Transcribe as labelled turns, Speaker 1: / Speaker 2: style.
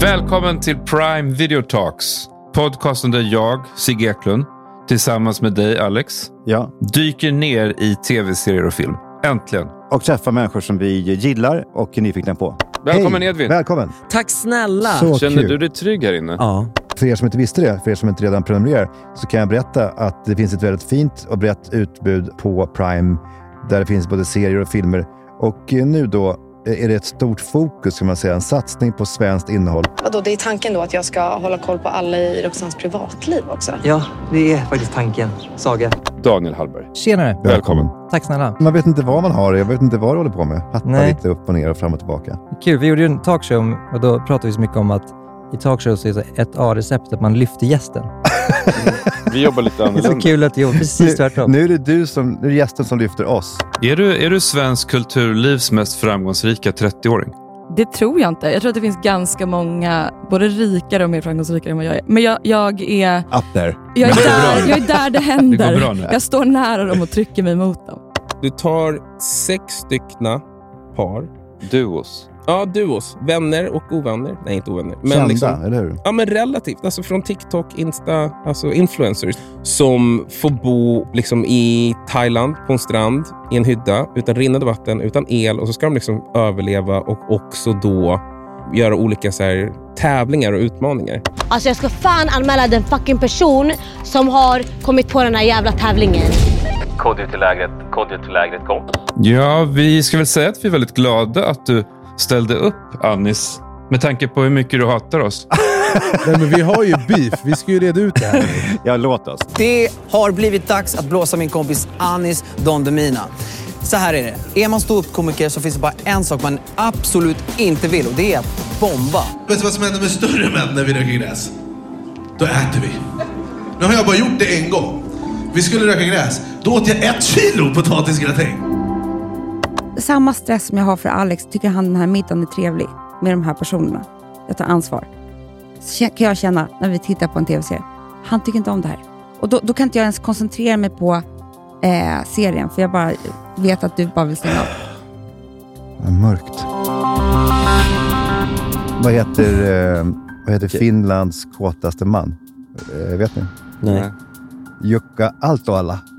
Speaker 1: Välkommen till Prime Video Talks. Podcasten där jag, Sigge Eklund, tillsammans med dig Alex,
Speaker 2: Ja,
Speaker 1: dyker ner i tv-serier och film. Äntligen.
Speaker 2: och träffa människor som vi gillar och är nyfikna på.
Speaker 1: Välkommen
Speaker 2: Hej,
Speaker 1: Edvin.
Speaker 2: Välkommen!
Speaker 3: Tack snälla!
Speaker 2: Så
Speaker 1: Känner
Speaker 2: kul.
Speaker 1: du dig trygg här inne?
Speaker 3: Ja.
Speaker 2: För er som inte visste det, för er som inte redan prenumererar, så kan jag berätta att det finns ett väldigt fint och brett utbud på Prime där det finns både serier och filmer. Och eh, nu då eh, är det ett stort fokus, kan man säga, en satsning på svenskt innehåll.
Speaker 4: Vadå, det är tanken då att jag ska hålla koll på alla i Roxans privatliv också?
Speaker 5: Ja, det är faktiskt tanken, Saga.
Speaker 1: Daniel Hallberg.
Speaker 5: Tjenare!
Speaker 1: Välkommen.
Speaker 5: Tack snälla.
Speaker 2: Man vet inte vad man har, jag vet inte vad du håller på med. Hattar
Speaker 5: Nej.
Speaker 2: lite upp och ner och fram och tillbaka.
Speaker 5: Kul, vi gjorde ju en talkshow om- och då pratade vi så mycket om att i talkshows är så ett A-recept att man lyfter gästen.
Speaker 1: Vi jobbar lite
Speaker 5: Det är så kul att du gjorde precis tvärtom.
Speaker 2: Nu är det du som, nu är det gästen som lyfter oss.
Speaker 1: Är du, är du svensk kulturlivs mest framgångsrika 30-åring?
Speaker 6: Det tror jag inte. Jag tror att det finns ganska många, både rikare och mer framgångsrikare än vad jag är. Men jag, jag, är,
Speaker 2: Up there.
Speaker 6: jag, är,
Speaker 1: Men det går bra
Speaker 6: där,
Speaker 1: nu.
Speaker 6: jag är där det
Speaker 1: Det går
Speaker 6: händer.
Speaker 1: bra nu.
Speaker 6: Jag står nära dem och trycker mig mot dem.
Speaker 7: Du tar sex styckna par.
Speaker 1: Duos.
Speaker 7: Ja, duos. Vänner och ovänner. Nej, inte ovänner. Men
Speaker 2: Kända,
Speaker 7: liksom...
Speaker 2: eller hur?
Speaker 7: Ja, men relativt. Alltså från TikTok, Insta, alltså influencers. Som får bo liksom i Thailand, på en strand, i en hydda, utan rinnande vatten, utan el. Och så ska de liksom överleva och också då göra olika så här, tävlingar och utmaningar.
Speaker 8: Alltså jag ska fan anmäla den fucking person som har kommit på den här jävla tävlingen.
Speaker 9: Kodjo till lägret, kodjo till lägret kom.
Speaker 1: Ja, vi ska väl säga att vi är väldigt glada att du ställde upp, Annis. Med tanke på hur mycket du hatar oss.
Speaker 10: Nej, men vi har ju beef. Vi ska ju reda ut det här.
Speaker 2: Ja, låt oss.
Speaker 11: Det har blivit dags att blåsa min kompis Anis Don Demina. Så här är det. Är man ståuppkomiker så finns det bara en sak man absolut inte vill och det är att bomba.
Speaker 10: Vet du vad som händer med större män när vi röker gräs? Då äter vi. Nu har jag bara gjort det en gång. Vi skulle röka gräs. Då åt jag ett kilo potatisgratäng.
Speaker 8: Samma stress som jag har för Alex tycker han den här middagen är trevlig med de här personerna. Jag tar ansvar. Så kä- kan jag känna när vi tittar på en tv-serie. Han tycker inte om det här. Och då, då kan inte jag ens koncentrera mig på eh, serien för jag bara vet att du bara vill stänga av.
Speaker 2: Vad mörkt. Vad heter, eh, vad heter Finlands kåtaste man? Eh, vet ni?
Speaker 5: Nej.
Speaker 2: Jukka Altoala.